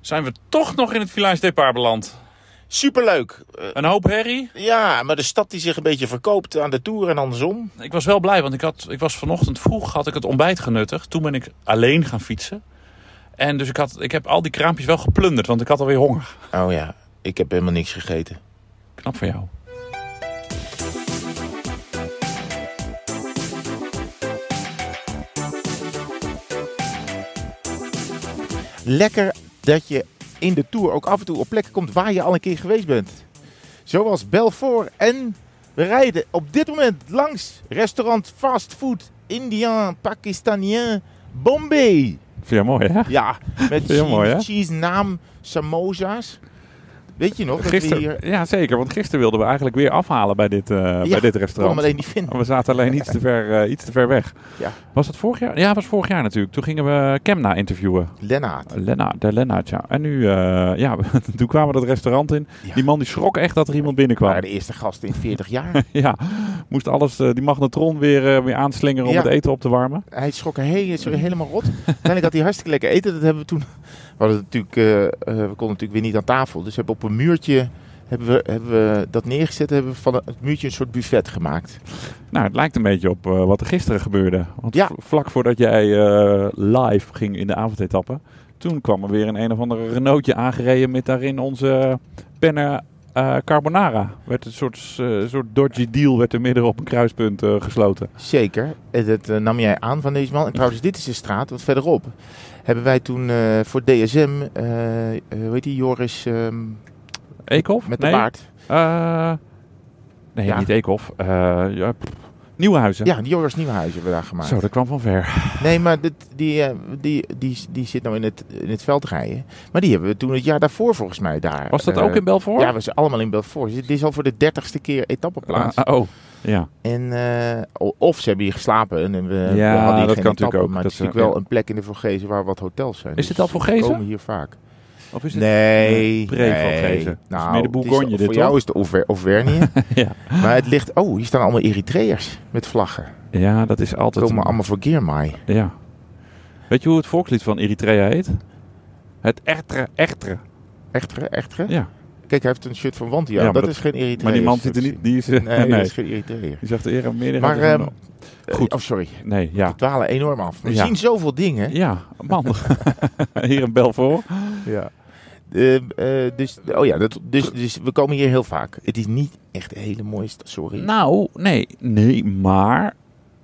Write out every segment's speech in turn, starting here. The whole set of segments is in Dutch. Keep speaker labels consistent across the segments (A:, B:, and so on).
A: zijn we toch nog in het Village Depart beland.
B: Superleuk. Eh,
A: Een hoop herrie.
B: ja, maar de stad die zich een beetje verkoopt aan de Tour en andersom.
A: Ik was wel blij, want ik, had, ik was vanochtend vroeg had ik het ontbijt genuttigd. Toen ben ik alleen gaan fietsen. En dus ik, had, ik heb al die kraampjes wel geplunderd, want ik had alweer honger.
B: Oh ja, ik heb helemaal niks gegeten.
A: Knap van jou.
B: Lekker dat je in de Tour ook af en toe op plekken komt waar je al een keer geweest bent. Zoals Belfort en we rijden op dit moment langs restaurant fastfood Indiaan Pakistanien Bombay.
A: Vind je mooi, hè?
B: Ja, met
C: Heel
B: cheese,
C: mooi, hè?
B: cheese naam Samosa's. Weet je nog dat we hier...
C: Gisteren, ja, zeker. Want gisteren wilden we eigenlijk weer afhalen bij dit, eh, bij dit
B: kon hem
C: restaurant.
B: alleen niet vinden.
C: Maar we zaten alleen iets te ver, eh, iets te ver weg.
B: Ja.
C: Was dat vorig jaar? Ja, was vorig jaar natuurlijk. Toen gingen we Kemna interviewen.
B: Lennart.
C: Lennart, de Lennart, ja. En nu, eh, ja, toen kwamen we dat restaurant in.
B: Ja.
C: Die man die schrok echt dat er iemand binnenkwam.
B: waren de eerste gasten in 40 jaar.
C: Ja, moest alles, eh, die magnetron weer, eh, weer aanslingeren om
B: Ja.
C: het eten op te warmen.
B: Hij schrok er he- zo helemaal rot. Uiteindelijk had hij hartstikke lekker eten. Dat hebben we toen... We, hadden natuurlijk, eh, eh, we konden natuurlijk weer niet aan tafel. Dus we hebben op een muurtje hebben we, hebben we dat neergezet. Hebben we van het muurtje een soort buffet gemaakt.
C: Nou, het lijkt een beetje op eh, wat er gisteren gebeurde. Want
B: Ja.
C: v- vlak voordat jij eh, live ging in de avondetappe, toen kwam er weer een een of ander Renaultje aangereden met daarin onze penne eh, carbonara. Werd een soort, eh, soort dodgy deal werd er midden op een kruispunt eh, gesloten.
B: Zeker. En dat eh, nam jij aan van deze man. En trouwens, dit is de straat. Wat verderop hebben wij toen eh, voor DSM... eh eh, hoe heet die? Joris ehm,
C: Eekhof?
B: met de
C: nee.
B: baard.
C: Eh, nee,
B: Ja.
C: niet Eekhof. Eh, ja, pff, Nieuwenhuizen.
B: Ja, die Joris Nieuwenhuis hebben we daar gemaakt.
C: Zo, dat kwam van ver.
B: Nee, maar dit, die, eh, die, die, die zit nou in het, in het veld rijden. Maar die hebben we toen het jaar daarvoor volgens mij daar.
C: Was dat
B: eh,
C: ook in Belfort?
B: Ja, we zijn allemaal in Belfort. Dit is al voor de dertigste keer etappeplaats.
C: Ah, oh, ja.
B: En, eh, o- of ze hebben hier geslapen en eh, we, we
C: Ja, dat
B: hadden hier
C: kan
B: geen etappe,
C: natuurlijk ook. Dat
B: Maar het
C: is,
B: is natuurlijk wel
C: ja.
B: een plek in de Vorgezen waar wat hotels zijn.
C: Is dit al
B: We
C: Vorgezen?
B: komen hier vaak.
C: Of is het
B: Nee.
C: pre van
B: nee.
C: Gezen. Dat is
B: Nou,
C: meer de
B: het is
C: Bourgogne
B: al-
C: dit,
B: Voor
C: toch?
B: jou is het Auver- Auvergne.
C: Ja.
B: Maar het ligt... Oh, hier staan allemaal Eritreërs met vlaggen.
C: Ja, dat is altijd.
B: Komen
C: een-
B: allemaal voor Girmay.
C: Ja. Weet je hoe het volkslied van Eritrea heet? Het Ertre, Ertre.
B: Echtere, echtere.
C: Ja.
B: Kijk, hij heeft een shirt van Wantia.
C: Ja, maar
B: dat,
C: dat-
B: is geen Eritreër.
C: Maar die man zit er
B: zo te
C: niet. Die is. eh,
B: zien. Nee,
C: Nee,
B: dat is geen Eritreër.
C: Die zegt de eer meer.
B: Maar, ehm,
C: Goed.
B: Oh, sorry.
C: nee, ja.
B: We dwalen enorm af. We
C: Ja.
B: zien zoveel dingen.
C: Ja, man. Hier in Belfort.
B: Ja. dus, oh ja, dat, dus, dus we komen hier heel vaak. Het is niet echt een hele mooie stad, sorry.
C: Nou, nee. Nee, maar.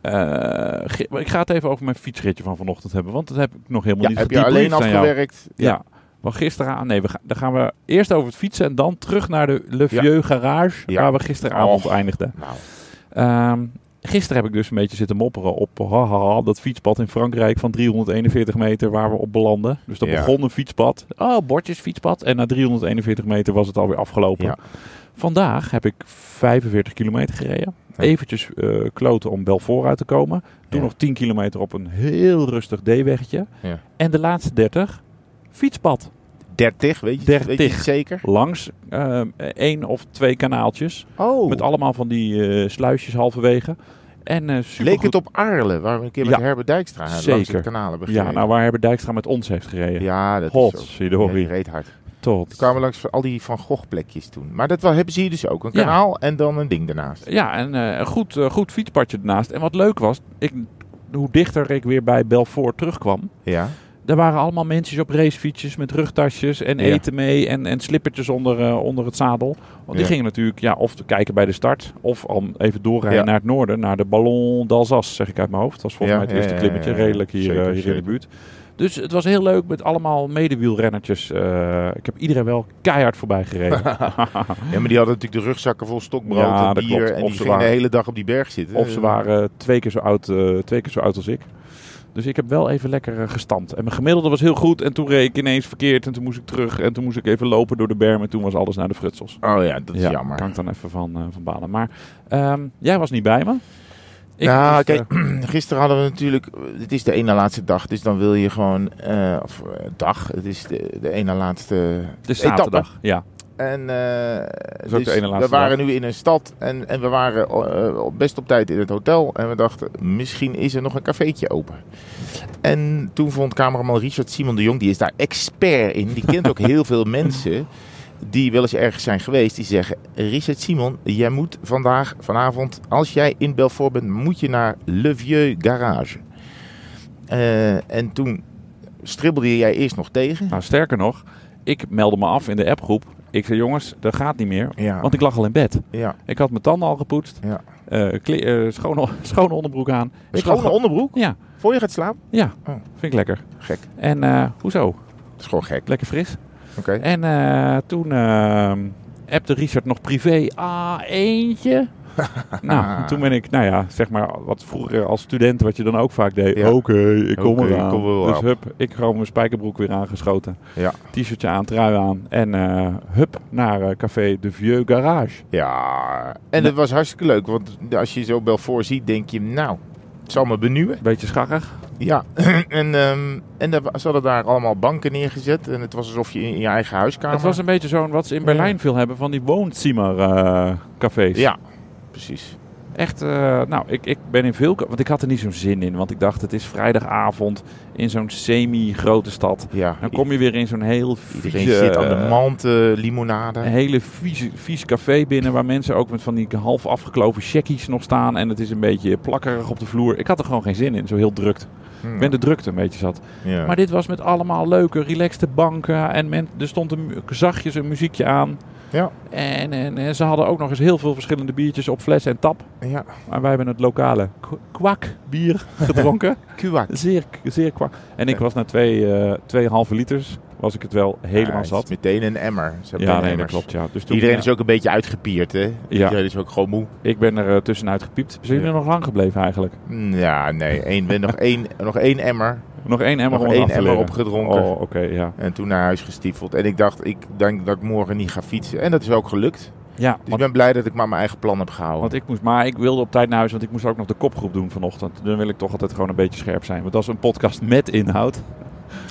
C: eh, ge- maar ik ga het even over mijn fietsritje van vanochtend hebben. Want dat heb ik nog helemaal
B: ja,
C: niet
B: heb je
C: gedebriefd
B: alleen
C: aan jou.
B: afgewerkt?
C: Ja. Want gisteren aan. Nee, we gaan, dan gaan we eerst over het fietsen. En dan terug naar de Le
B: Ja.
C: Vieux Garage.
B: Ja.
C: Waar we gisteravond eindigden.
B: Nou,
C: Ehm, gisteren heb ik dus een beetje zitten mopperen op haha, dat fietspad in Frankrijk van 341 meter waar we op belanden. Dus dat
B: Ja.
C: begon een fietspad. Oh, bordjes fietspad. En na 341 meter was het alweer afgelopen.
B: Ja.
C: Vandaag heb ik 45 kilometer gereden.
B: Ja.
C: Eventjes eh, kloten om Belfort uit te komen. Toen
B: Ja.
C: nog 10 kilometer op een heel rustig D-weggetje.
B: Ja.
C: En de laatste 30, fietspad.
B: 30, weet je, het- Weet je
C: 30.
B: het zeker?
C: Langs eh, één of twee kanaaltjes.
B: Oh,
C: Met allemaal van die eh, sluisjes halverwege. En eh super
B: leek het op Arlen, waar we een keer met
C: Ja.
B: Herbert Dijkstra langs
C: Zeker.
B: het kanaal hebben
C: Ja,
B: gereden.
C: nou waar hebben Dijkstra met ons heeft gereden.
B: ja dat is zo. Ja, die
C: Potverdorie.
B: reed hard.
C: Tot.
B: Toen kwamen we langs al die Van Gogh plekjes toen. Maar dat wel, hebben ze hier dus ook. Een
C: Ja.
B: kanaal en dan een ding daarnaast.
C: Ja, en eh, een goed, eh, goed fietspadje ernaast. En wat leuk was, ik, hoe dichter ik weer bij Belfort terugkwam...
B: Ja.
C: Er waren allemaal mensen op racefietsjes met rugtasjes en
B: Ja.
C: eten mee en, en slippertjes onder, eh, onder het zadel. Want die
B: Ja.
C: gingen natuurlijk ja, of te kijken bij de start of al even doorrijden
B: Ja.
C: naar het noorden, naar de Ballon d'Alsace, zeg ik uit mijn hoofd. Dat was volgens
B: Ja,
C: mij het
B: ja,
C: eerste
B: ja,
C: klimmetje,
B: ja, ja.
C: redelijk hier,
B: Zeker,
C: eh, hier in de
B: zeker.
C: buurt. Dus het was heel leuk met allemaal medewielrennetjes. eh, ik heb iedereen wel keihard voorbij gereden.
B: ja, maar die hadden natuurlijk de rugzakken vol stokbrood
C: Ja,
B: en
C: dat
B: bier.
C: klopt.
B: En
C: Of
B: die
C: ze
B: gingen de
C: waren-
B: hele dag op die berg zitten.
C: Of ze waren twee keer zo oud, eh, twee keer zo oud als ik. Dus ik heb wel even lekker eh, gestampt. En mijn gemiddelde was heel goed. En toen reed ik ineens verkeerd. En toen moest ik terug. En toen moest ik even lopen door de berm. En toen was alles naar de frutsels.
B: Oh ja, dat is jammer.
C: kan ik dan even van, eh, van balen. Maar ehm, jij was niet bij me. Ik
B: nou,
C: moest,
B: kijk,
C: eh,
B: gisteren hadden we natuurlijk. Het is de ene laatste dag, dus dan wil je gewoon. eh, of eh, dag, het is de, de ene laatste.
C: het is zaterdag. Ja.
B: En eh,
C: is ook de ene laatste
B: we waren
C: dag.
B: nu in een stad en, en we waren eh, best op tijd in het hotel. En we dachten, misschien is er nog een cafeetje open. En toen vond cameraman Richard Simon de Jong, die is daar expert in. Die kent ook heel veel mensen die wel eens ergens zijn geweest. Die zeggen, Richard Simon, jij moet vandaag, vanavond, als jij in Belfort bent, moet je naar Le Vieux Garage. Eh, en toen stribbelde jij eerst nog tegen.
C: Nou, sterker nog, ik meldde me af in de appgroep. Ik zei, jongens, dat gaat niet meer.
B: Ja,
C: Want ik lag al in bed.
B: ja.
C: Ik had mijn tanden al gepoetst.
B: Ja.
C: Eh, kle- eh, schone, schone onderbroek aan. Ik lag
B: Schone
C: al-
B: onderbroek,
C: Ja,
B: voor je gaat slapen.
C: ja.
B: Oh.
C: Vind ik lekker.
B: Gek.
C: En eh, hoezo?
B: Dat is gewoon gek.
C: Lekker fris.
B: Oké.
C: En eh, toen eh, appte Richard nog privé. Ah, eentje. nou, toen ben ik, nou ja, zeg maar, wat vroeger als student, wat je dan ook vaak deed.
B: Ja.
C: Oké, ik kom
B: Oké,
C: eraan.
B: ik kom er wel
C: dus
B: aan.
C: hup, ik gewoon mijn spijkerbroek weer aangeschoten.
B: Ja.
C: T-shirtje aan, trui aan. En eh, hup, naar eh, café De Vieux Garage.
B: Ja, en dat was hartstikke leuk. Want als je zo Belfort ziet, denk je, nou, het zal me benieuwen.
C: Beetje scharrig.
B: Ja, en, ehm, en daar wa- ze hadden daar allemaal banken neergezet. En het was alsof je in je eigen huiskamer...
C: Het was een beetje zo'n wat ze in Berlijn
B: Ah, Ja.
C: veel hebben van die eh, woonzimmercafés.
B: Ja, precies.
C: Echt, eh, nou, ik, ik ben in veel... ka- Want ik had er niet zo'n zin in. Want ik dacht, het is vrijdagavond in zo'n semi-grote stad.
B: Ja,
C: Dan kom je weer in zo'n heel
B: iedereen
C: vieze,
B: zit aan de
C: eh,
B: mand, eh, limonade.
C: Een hele vieze, vies café binnen waar mensen ook met van die half afgekloven checkies nog staan. En het is een beetje plakkerig op de vloer. Ik had er gewoon geen zin in, zo heel drukt. Ik ben de drukte een beetje zat.
B: Hmm. ja.
C: Maar dit was met allemaal leuke, relaxte banken. En men, er stond een, mu- zachtjes een muziekje aan.
B: Ja.
C: En, en, en ze hadden ook nog eens heel veel verschillende biertjes op fles en tap.
B: ja,
C: Maar wij hebben het lokale k- kwakbier gedronken.
B: kuwak.
C: zeer, zeer kwak. En ik was na twee, eh, tweeënhalve liters, was ik het wel helemaal
B: Ja, het is
C: zat.
B: meteen een emmer. Ze hebben
C: Ja,
B: een
C: nee, dat
B: emmers.
C: klopt. Ja. Dus toen,
B: Iedereen
C: ja,
B: is ook een beetje uitgepierd, hè? Iedereen is ook gewoon moe.
C: Ik ben er eh, tussenuit gepiept. Zijn jullie nog lang gebleven eigenlijk?
B: Hmm, Ja, nee. één- we nog, één, nog één emmer.
C: Nog één emmer
B: Nog
C: om het
B: één
C: af te
B: emmer
C: leren.
B: opgedronken.
C: Oh, oké, ja.
B: En toen naar huis gestiefeld. En ik dacht, ik denk dat ik morgen niet ga fietsen. En dat is ook gelukt. Dus
C: Ja,
B: ik
C: want,
B: ben blij dat ik maar mijn eigen plan heb gehouden.
C: want ik moest, maar ik wilde op tijd naar huis, want ik moest ook nog de kopgroep doen vanochtend. Dan wil ik toch altijd gewoon een beetje scherp zijn. Want dat is een podcast met inhoud,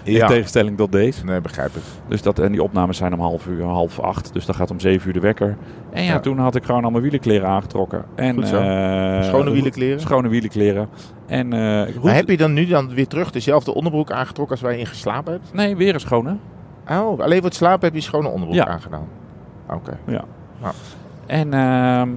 C: in tegenstelling tot deze.
B: Nee, begrijp ik.
C: Dus dat, en die opnames zijn om half uur, half acht. Dus dan gaat om zeven uur de wekker. En ja,
B: Ja.
C: toen had ik gewoon al mijn wielenkleren aangetrokken. En,
B: Goed zo.
C: eh,
B: Schone wielenkleren.
C: Schone wielenkleren. En, eh, ik roet-
B: Maar heb je dan nu dan weer terug dezelfde onderbroek aangetrokken als waar je in geslapen hebt?
C: Nee, weer een schone.
B: Oh, alleen voor het slapen heb je schone onderbroek
C: Ja.
B: aangedaan. Oké.
C: En ehm,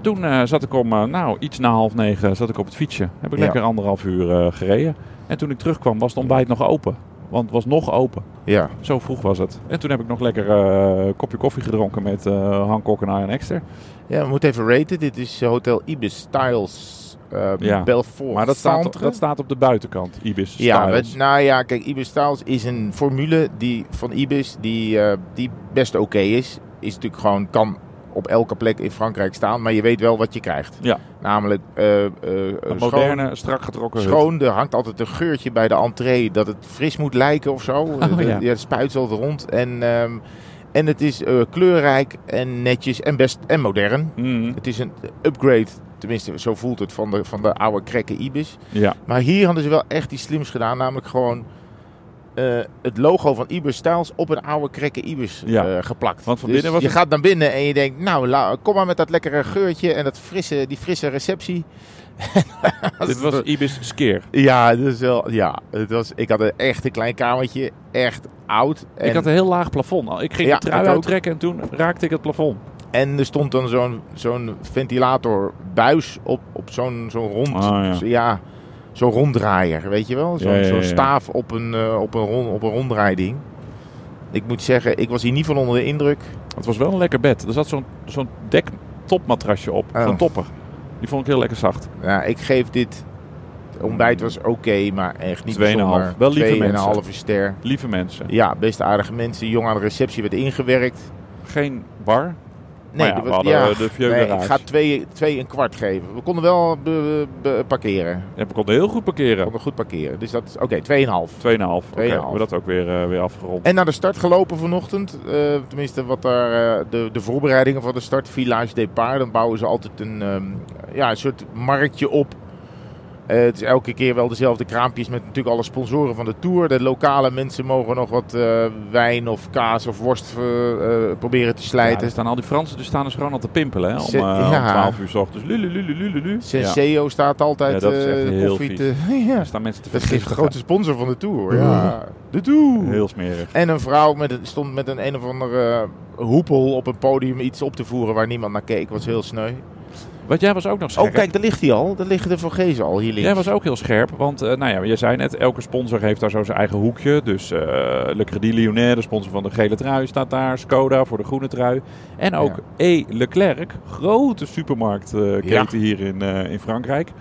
C: toen eh, zat ik om, eh, nou, iets na half negen zat ik op het fietsje. Heb ik
B: Ja.
C: lekker anderhalf uur eh, gereden. En toen ik terugkwam was het ontbijt nog open. Want het was nog open.
B: Ja.
C: Zo vroeg was het. En toen heb ik nog lekker eh, een kopje koffie gedronken met eh Han Kok en Arjen Ekster.
B: ja, we moeten even raten. Dit is eh, Hotel Ibis Styles eh
C: Ja.
B: Belfort
C: Maar dat staat,
B: Centre.
C: dat staat op de buitenkant, Ibis
B: Ja,
C: Styles.
B: we- nou ja, kijk, Ibis Styles is een formule die, van Ibis die, eh, die best oké is. Is natuurlijk gewoon, kan op elke plek in Frankrijk staan, maar je weet wel wat je krijgt.
C: Ja.
B: Namelijk, eh, eh,
C: Een
B: eh,
C: moderne, strak getrokken
B: schoon,
C: hut.
B: schoon, er hangt altijd een geurtje bij de entree dat het fris moet lijken of zo. Eh,
C: Oh, ja.
B: ja. het spuit altijd rond. En, ehm, en het is eh, kleurrijk en netjes en best en modern.
C: Mm,
B: Het is een upgrade, tenminste zo voelt het, van de, van de oude krekke Ibis.
C: ja.
B: Maar hier hadden ze wel echt iets slims gedaan. Namelijk gewoon eh, het logo van Ibis Styles op een oude krekke Ibis
C: Ja.
B: eh, geplakt.
C: Want van
B: Dus
C: binnen was
B: je
C: het-
B: gaat naar binnen en je denkt, nou la- kom maar met dat lekkere geurtje en dat frisse, die frisse receptie.
C: Dit was Ibis Skeer.
B: Ja, dat is wel, ja het was, ik had een echt een klein kamertje, echt oud. En,
C: Ik had een heel laag plafond. al. Ik ging
B: Ja,
C: de trui
B: ik ook.
C: uittrekken en toen raakte ik het plafond.
B: en er stond dan zo'n zo'n ventilatorbuis op, op zo'n zo'n rond,
C: Ah, ja.
B: zo- ja, zo'n ronddraaier, weet je wel? Zo'n
C: Ja, ja, ja,
B: zo'n
C: ja.
B: staaf op een, eh, op, een rond, op een ronddraaiding. Ik moet zeggen, ik was hier niet van onder de indruk.
C: Het was wel een lekker bed. Er zat zo'n zo'n dek topmatrasje op.
B: Oh.
C: Zo'n topper. Die vond ik heel lekker zacht.
B: Ja, ik geef dit. Het ontbijt was oké, maar echt niet
C: Tweeënhalf.
B: bijzonder.
C: Wel lieve
B: Twee en een
C: mensen.
B: halve ster.
C: Lieve mensen.
B: Ja, best aardige mensen. Jong aan de receptie werd ingewerkt.
C: Geen bar.
B: Nee,
C: ja,
B: er
C: we
B: was-
C: hadden, eh, de Vieux
B: nee, ik
C: garage.
B: ga twee, twee een kwart geven. We konden wel be- be- parkeren. We
C: Ja, we konden heel goed parkeren. 2,5.
B: konden goed parkeren. Dus dat is oké, tweeënhalf.
C: Oké,
B: Tweeënhalf.
C: hebben we dat ook weer, eh, weer afgerond.
B: En naar de start gelopen vanochtend. Eh, tenminste, wat daar, eh, de, de voorbereidingen van de start. Village Depart. Dan bouwen ze altijd een, ehm, ja, een soort marktje op. Eh, het is elke keer wel dezelfde kraampjes met natuurlijk alle sponsoren van de Tour. De lokale mensen mogen nog wat eh, wijn of kaas of worst eh, eh, proberen te
C: Ja, er
B: slijten.
C: staan al die Fransen dus staan dus gewoon al te pimpelen hè, om,
B: Ze-
C: eh, om
B: ja.
C: 12 uur s ochtends. Lulu, lulu, lulu, lulu. Ja.
B: Senseo staat altijd
C: Ja, dat is echt
B: eh,
C: heel
B: koffie te...
C: vies.
B: ja.
C: Er staan mensen te
B: Dat is de
C: vergiftigen.
B: grote sponsor van de Tour.
C: Ja.
B: Ja. De Tour!
C: Heel smerig.
B: En een vrouw met, een- stond met een een of andere eh, hoepel op een podium iets op te voeren waar niemand naar keek. was heel sneu.
C: Wat jij was ook nog scherp.
B: Oh, kijk, daar ligt hij al. Daar liggen de Vorgezen al hier links.
C: Jij was ook heel scherp, want eh, nou ja, je zei net, elke sponsor heeft daar zo zijn eigen hoekje. Dus eh Le Crédit Lyonnais, de sponsor van de gele trui, staat daar. Skoda voor de groene trui. En ook E. Leclerc, grote supermarktketen
B: Ja.
C: hier in, eh, in Frankrijk.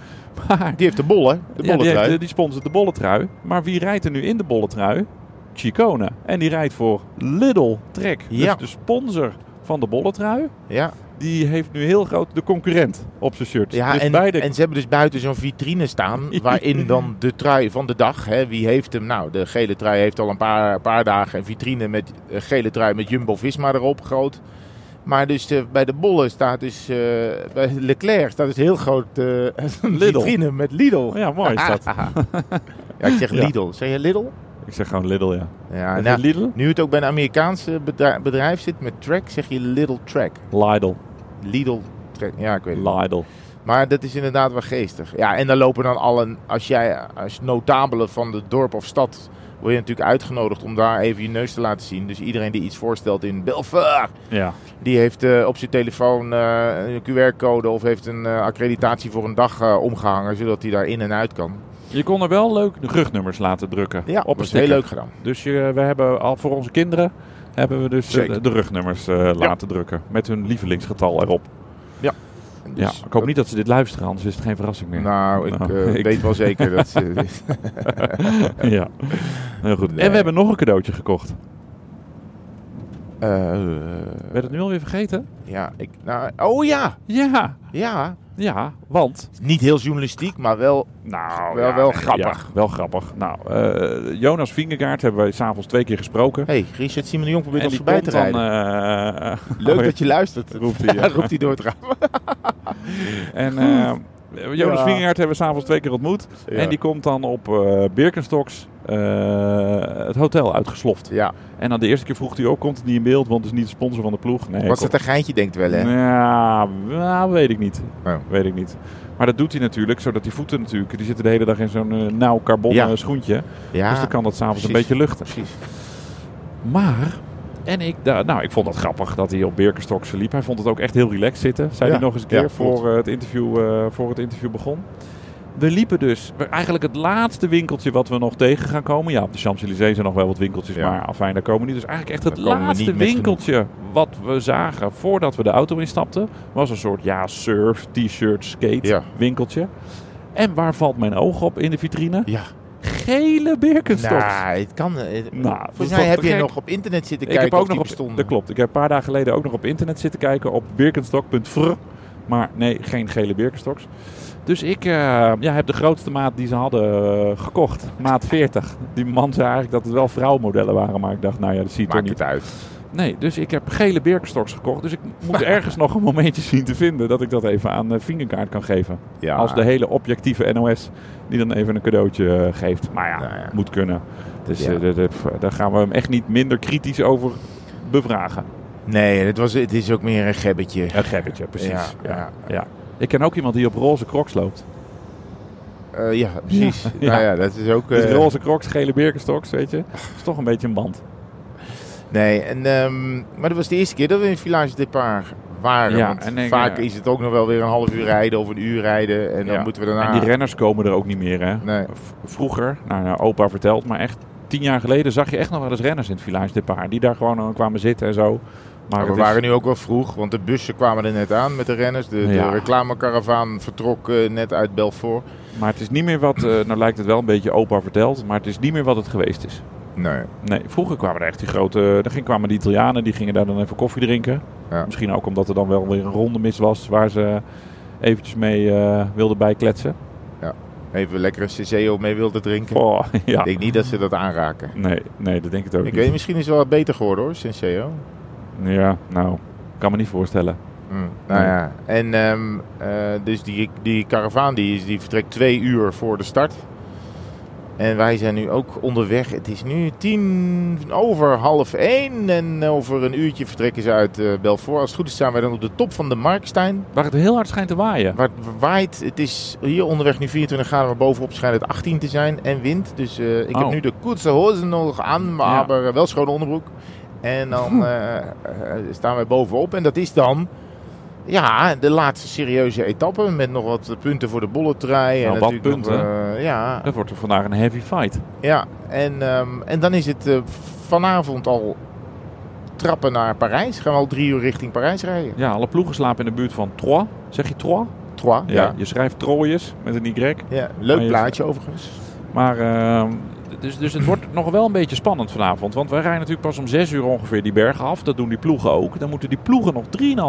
C: Maar
B: Die heeft de bol, hè? De
C: ja, die, heeft,
B: bolletrui.
C: eh, die sponsort de bolletrui. Maar wie rijdt er nu in de bolletrui? Chicone. En die rijdt voor Lidl Trek.
B: Ja.
C: Dus de sponsor van de bolletrui.
B: Ja,
C: Die heeft nu heel groot de concurrent op zijn shirt.
B: ja
C: dus
B: en,
C: beide
B: en ze hebben dus buiten zo'n vitrine staan waarin dan de trui van de dag, hè, wie heeft hem? Nou, de gele trui heeft al een paar, paar dagen een vitrine met eh, gele trui met Jumbo-Visma erop groot. Maar dus eh, bij de bollen staat dus, eh, bij Leclerc staat dus heel groot eh, een
C: Lidl.
B: vitrine met Lidl.
C: Ja, mooi Oh, is dat.
B: Ja, ik zeg
C: Ja.
B: Lidl. Zeg je Lidl?
C: Ik zeg gewoon Lidl, ja.
B: Ja,
C: Is
B: nou,
C: het Lidl?
B: nu het ook bij een Amerikaanse bedrijf, bedrijf zit met Track, zeg je Lidl Track.
C: Lidl.
B: Lidl Track, ja ik weet het.
C: Lidl.
B: Maar dat is inderdaad wel geestig. Ja, en dan lopen dan allen, als jij als notabele van het dorp of stad, word je natuurlijk uitgenodigd om daar even je neus te laten zien. Dus iedereen die iets voorstelt in Belfort,
C: Ja.
B: die heeft eh, op zijn telefoon eh, een QR-code of heeft een eh, accreditatie voor een dag eh, omgehangen, zodat hij daar in en uit kan.
C: Je kon er wel leuk de rugnummers laten drukken.
B: Ja,
C: op een
B: was heel
C: sticker.
B: leuk gedaan.
C: Dus je, we hebben al voor onze kinderen hebben we dus eh,
B: Zeker.
C: de, de rugnummers eh, laten drukken. Met hun lievelingsgetal erop.
B: Dus-
C: ja, ik hoop niet dat ze dit luisteren, anders is het geen verrassing meer.
B: Nou, ik,
C: Nou,
B: eh,
C: ik-
B: weet wel zeker dat ze...
C: ja, heel goed.
B: Nee.
C: En we hebben nog een cadeautje gekocht.
B: Eh,
C: Werd het nu alweer vergeten?
B: ja, ik, nou, oh ja,
C: Ja,
B: ja.
C: ja, want...
B: Niet heel journalistiek, maar wel
C: Nou,
B: Wel-
C: ja,
B: wel
C: nee,
B: grappig.
C: ja, wel grappig. Nou, eh, Jonas Vingegaard hebben wij s'avonds twee keer gesproken.
B: Hey, Richard Simon de Jong probeert
C: en
B: ons
C: die
B: voorbij
C: komt
B: te
C: dan...
B: rijden.
C: eh,
B: Leuk dat je luistert,
C: roept hij, ja.
B: roept hij door het raam.
C: En eh, Jonas
B: Ja.
C: Vingegaard hebben we s'avonds twee keer ontmoet. En die komt dan op eh Birkenstocks eh, het hotel uitgesloft.
B: ja,
C: En dan de eerste keer vroeg hij ook, komt het niet in beeld, want het is niet de sponsor van de ploeg. Nee,
B: was
C: komt-
B: het een geintje, denkt wel, hè?
C: Ja, nou, weet ik niet.
B: Oh.
C: Weet ik niet. Maar dat doet hij natuurlijk, zodat die voeten natuurlijk, die zitten de hele dag in zo'n eh, nauw carbonnen
B: Ja.
C: schoentje.
B: Ja,
C: dus dan kan dat s'avonds een
B: precies.
C: beetje luchten.
B: precies.
C: Maar, en ik, da- nou, ik vond dat grappig dat hij op Birkenstocks liep. Hij vond het ook echt heel relaxed zitten. Zei
B: Ja,
C: hij nog eens een keer
B: ja, klopt.
C: voor, eh, het interview, eh, voor het interview begon. We liepen dus we- eigenlijk het laatste winkeltje wat we nog tegen gaan komen. Ja, op de Champs-Élysées zijn nog wel wat winkeltjes,
B: Ja.
C: maar afijn, daar komen we niet. Dus eigenlijk echt het
B: Daar komen we
C: laatste
B: niet met
C: winkeltje wat we zagen voordat we de auto instapten... was een soort, ja, surf, t-shirt, skate
B: Ja.
C: winkeltje. En waar valt mijn oog op in de vitrine?
B: Ja,
C: Gele Birkenstocks.
B: nou, het kan... eh,
C: Nou, dat is
B: Volgens mij
C: toch
B: heb
C: te
B: je
C: gek.
B: nog op internet zitten
C: Ik
B: kijken
C: heb ook
B: of die
C: nog op,
B: bestonden.
C: dat klopt. Ik heb een paar dagen geleden ook nog op internet zitten kijken op birkenstock.fr. Maar nee, geen gele birkenstocks. Dus ik eh, ja, heb de grootste maat die ze hadden eh, gekocht. Maat 40. Die man zei eigenlijk dat het wel vrouwmodellen waren. Maar ik dacht, nou ja, dat ziet er
B: Maakt
C: niet.
B: het uit.
C: Nee, dus ik heb gele birkenstocks gekocht. Dus ik moet ergens nog een momentje zien te vinden dat ik dat even aan eh vingerkaart kan geven.
B: Ja,
C: Als de hele objectieve NOS die dan even een cadeautje eh, geeft. Maar ja,
B: Nou ja.
C: moet kunnen. Dus
B: Ja.
C: eh, dat- dat- pff, daar gaan we hem echt niet minder kritisch over bevragen.
B: Nee, het, was, het is ook meer een gebbetje.
C: Een gebbetje, precies. Ja,
B: Ja, ja.
C: ja. Ik ken ook iemand die op roze crocs loopt.
B: Eh, ja, precies. Ja.
C: Ja.
B: Nou ja, dat is ook...
C: Dus
B: eh,
C: roze crocs, gele birkenstocks, weet je. Dat is toch een beetje een band.
B: Nee, en, ehm, maar dat was de eerste keer dat we in Village Depart waren.
C: Ja,
B: want
C: en ik, eh,
B: vaak
C: ja.
B: is het ook nog wel weer een half uur rijden of een uur rijden. En dan
C: Ja.
B: moeten we daarna...
C: En die renners komen er ook niet meer, hè.
B: Nou. Nee.
C: V- Vroeger, nou, nou, opa vertelt, maar echt tien jaar geleden zag je echt nog wel eens renners in het Village Depart. Die daar gewoon aan kwamen zitten en zo. Maar
B: Maar
C: het
B: we
C: is-
B: waren nu ook wel vroeg, want de bussen kwamen er net aan met de renners. De, de
C: Ja.
B: reclamekaravaan vertrok eh, net uit Belfort.
C: Maar het is niet meer wat, eh, nou lijkt het wel een beetje opa verteld, maar het is niet meer wat het geweest is.
B: Nee.
C: Nee, vroeger kwamen er echt die grote, dan ging- kwamen die Italianen, die gingen daar dan even koffie drinken.
B: Ja.
C: Misschien ook omdat er dan wel weer een ronde mis was waar ze eventjes mee eh, wilden bijkletsen.
B: Even lekker een CCO mee wilden drinken.
C: Oh, ja.
B: Ik denk niet dat ze dat aanraken.
C: Nee, nee, dat denk ik ook
B: Ik
C: niet.
B: weet, misschien is het wel wat beter geworden hoor, Senseo.
C: Ja, nou, kan me niet voorstellen.
B: Mm, nou ja, en ehm, eh, dus die, die karavaan die, is- die vertrekt twee uur voor de start. En wij zijn nu ook onderweg. Het is nu tien over half één. En over een uurtje vertrekken ze uit eh Belfort. Als het goed is staan wij dan op de top van de Markstein.
C: Waar het heel hard schijnt te waaien.
B: Waar het waait. Het is hier onderweg nu 24 graden. Maar bovenop schijnt het 18 te zijn. En wind. Dus eh, ik heb
C: Oh.
B: nu de koetse hozen nog aan. Maar
C: Ja.
B: hebben wel schone onderbroek. En dan eh, eh, staan wij bovenop. En dat is dan... Ja, de laatste serieuze etappe met nog wat punten voor de bolletrui.
C: Nou,
B: en
C: wat
B: natuurlijk nog, eh, ja,
C: Dat wordt er vandaag een heavy fight.
B: ja, en, ehm, en dan is het eh, vanavond al trappen naar Parijs. Gaan we al drie uur richting Parijs rijden.
C: Ja, alle ploegen slapen in de buurt van Troyes. Zeg je Troyes?
B: Trois, ja. ja.
C: Je schrijft Troyes met een Y.
B: leuk
C: Maar je-
B: plaatje overigens.
C: Maar ehm, dus, dus het wordt nog wel een beetje spannend vanavond. Want wij rijden natuurlijk pas om 6 uur ongeveer die bergen af. Dat doen die ploegen ook. Dan moeten die ploegen nog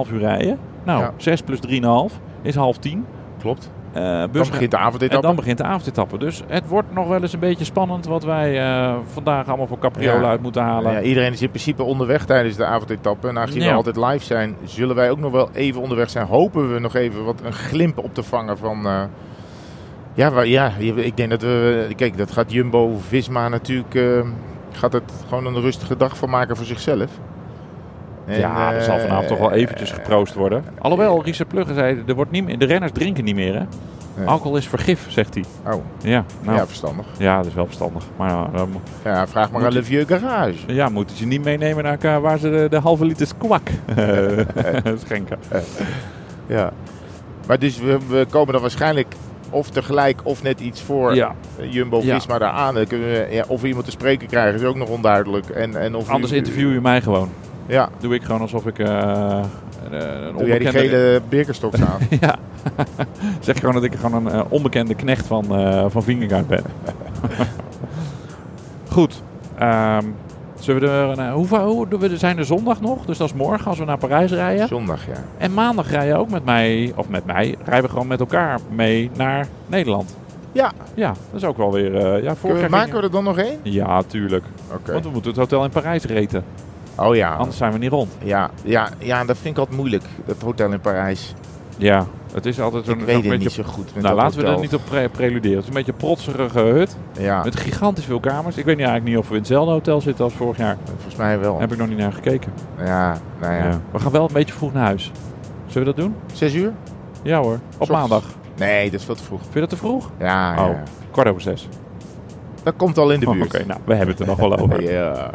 C: 3,5 uur rijden. Nou,
B: Ja.
C: 6 plus 3,5 is half 10.
B: Klopt.
C: Eh
B: Dan
C: bus-
B: begint de
C: en
B: avondetappe.
C: dan begint de avondetappe. Dus het wordt nog wel eens een beetje spannend wat wij eh, vandaag allemaal voor Capriola
B: Ja.
C: uit moeten halen.
B: Ja, iedereen is in principe onderweg tijdens de avondetappe. En aangezien
C: Ja.
B: we altijd live zijn, zullen wij ook nog wel even onderweg zijn. Hopen we nog even wat een glimp op te vangen van... eh, ja, waar- ja, je- ik denk dat we... Kijk, dat gaat Jumbo-Visma natuurlijk... eh, gaat het gewoon een rustige dag van maken voor zichzelf. En,
C: Ja, er zal
B: eh,
C: vanavond toch wel eventjes geproost worden. Alhoewel, Richard Plugge zei, er wordt niet meer, de renners drinken niet meer, hè?
B: Nee.
C: Alcohol is vergif, zegt hij.
B: Oh,
C: Ja, nou,
B: ja,
C: ja.
B: verstandig.
C: dat is wel verstandig. Maar eh, ja, dan mo-
B: Ja, vraag maar
C: Moet
B: aan Le Vieux Garage.
C: ja, moeten ze niet meenemen naar elkaar waar ze de, de halve liter kwak schenken.
B: Ja. Maar dus we, we komen dan waarschijnlijk of tegelijk of net iets voor
C: Ja,
B: Jumbo-Visma Eh, daar aan. Dan kunnen we, ja, of we iemand te spreken krijgen is ook nog onduidelijk. En, en of
C: anders
B: u-
C: interview je mij gewoon.
B: Ja,
C: Doe ik gewoon alsof ik eh, een, een
B: doe jij die
C: onbekende...
B: gele Birkenstocks aan.
C: Ja, zeg gewoon dat ik gewoon een eh, onbekende knecht van, eh van Vingegaard ben. Goed. ehm, zullen we er, eh, hoe, va- hoe doen we, er zijn er zondag nog, dus dat is morgen als we naar Parijs rijden.
B: Zondag, ja.
C: En maandag rij je ook met mij, of met mij, rijden we gewoon met elkaar mee naar Nederland.
B: Ja,
C: Ja, dat is ook wel weer... eh ja,
B: kunnen we,
C: voorkeur.
B: maken we er dan nog één?
C: Ja, tuurlijk.
B: Oké.
C: Want we moeten het hotel in Parijs reten,
B: Oh ja.
C: anders zijn we niet rond.
B: Ja, ja, ja, dat vind ik altijd moeilijk, dat hotel in Parijs.
C: Ja, het is altijd zo'n
B: Ik
C: zo'n
B: weet het
C: beetje...
B: niet zo goed met
C: nou,
B: dat
C: laten we er
B: hotel. Ah.
C: niet op pre- preluderen. Het is een beetje een protserige hut.
B: Ja,
C: Met gigantisch veel kamers. Ik weet niet, eigenlijk niet of we in hetzelfde hotel zitten als vorig jaar.
B: volgens mij wel.
C: Daar heb ik nog niet naar gekeken.
B: Ja, nou ja.
C: Ja. We gaan wel een beetje vroeg naar huis. Zullen we dat doen?
B: Zes uur?
C: Ja hoor. Op
B: Ochtends.
C: maandag.
B: Nee, dat is wat vroeg.
C: Vind je dat te vroeg?
B: Ah, Ja,
C: Oh,
B: ja.
C: kwart over zes.
B: dat komt al in de
C: Oh,
B: buurt.
C: Oké, nou, we hebben het er nog wel over.
B: Ja.